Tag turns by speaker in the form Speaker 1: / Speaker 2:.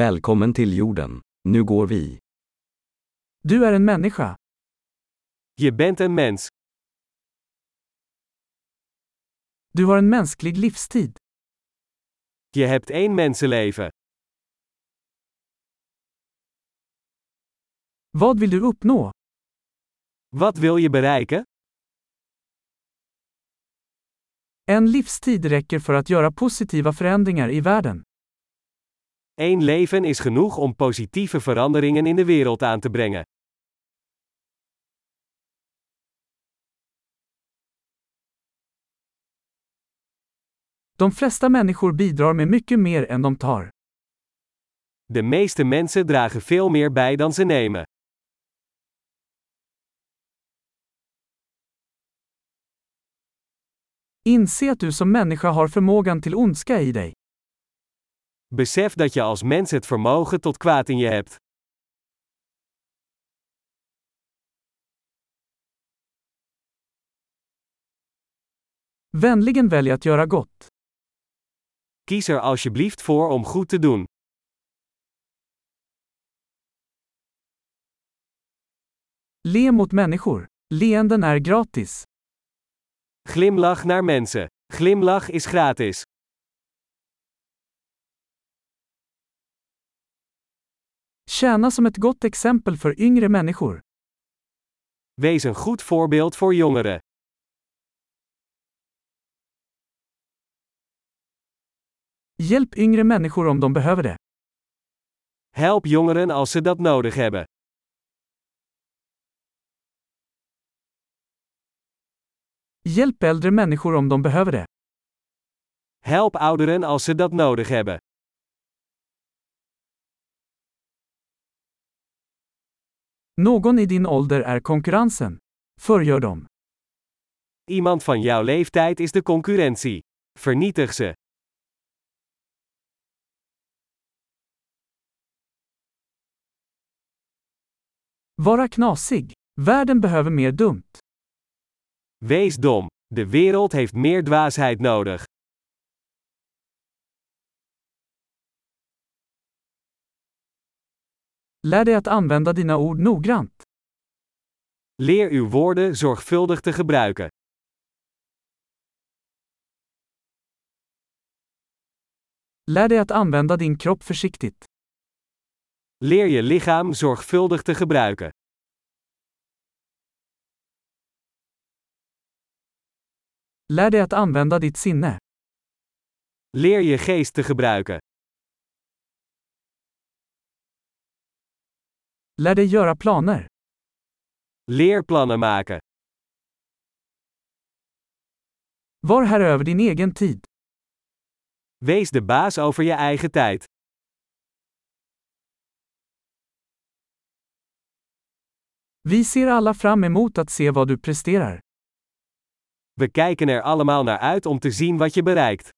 Speaker 1: Välkommen till jorden. Nu går vi.
Speaker 2: Du är en människa.
Speaker 3: Je bent een mens.
Speaker 2: Du har en mänsklig livstid.
Speaker 3: Je hebt één mensenleven.
Speaker 2: Vad vill du uppnå?
Speaker 3: Wat wil je bereiken?
Speaker 2: En livstid räcker för att göra positiva förändringar i världen.
Speaker 3: Eén leven is genoeg om positieve veranderingen in de wereld aan te brengen.
Speaker 2: De flesta människor bidrar med mycket mer än de tar.
Speaker 3: De meeste mensen dragen veel meer bij dan ze nemen.
Speaker 2: Inse att du som människa har förmågan till ondska i dig.
Speaker 3: Besef dat je als mens het vermogen tot kwaad in je hebt.
Speaker 2: Vänligen välj att göra gott.
Speaker 3: Kies er alsjeblieft voor om goed te doen.
Speaker 2: Le mot människor. Leenden är gratis.
Speaker 3: Glimlach naar mensen. Glimlach is gratis.
Speaker 2: Tjäna som ett gott exempel för yngre människor.
Speaker 3: Wees een goed voorbeeld voor jongeren.
Speaker 2: Hjälp yngre människor om de behöver det.
Speaker 3: Help jongeren als ze dat nodig hebben.
Speaker 2: Hjälp äldre människor om de behöver det.
Speaker 3: Help ouderen als ze dat nodig hebben.
Speaker 2: Någon i din ålder är konkurrensen. Förgör dem.
Speaker 3: Iemand van jouw leeftijd is de concurrentie. Vernietig ze.
Speaker 2: Vara knasig. Världen behöver mer dumt.
Speaker 3: Wees dom. De wereld heeft meer dwaasheid nodig.
Speaker 2: Lär dig att använda dina ord noggrant.
Speaker 3: Leer uw woorden zorgvuldig te gebruiken.
Speaker 2: Lär dig att använda din kropp försiktigt.
Speaker 3: Leer je lichaam zorgvuldig te gebruiken.
Speaker 2: Lär dig att använda ditt sinne.
Speaker 3: Leer je geest te gebruiken.
Speaker 2: Lär dig göra planer.
Speaker 3: Leer plannen maken.
Speaker 2: Var herre över din egen tid.
Speaker 3: Wees de baas over je eigen tijd.
Speaker 2: Vi ser alla fram emot att se vad du presterar.
Speaker 3: We kijken er allemaal naar uit om te zien wat je bereikt.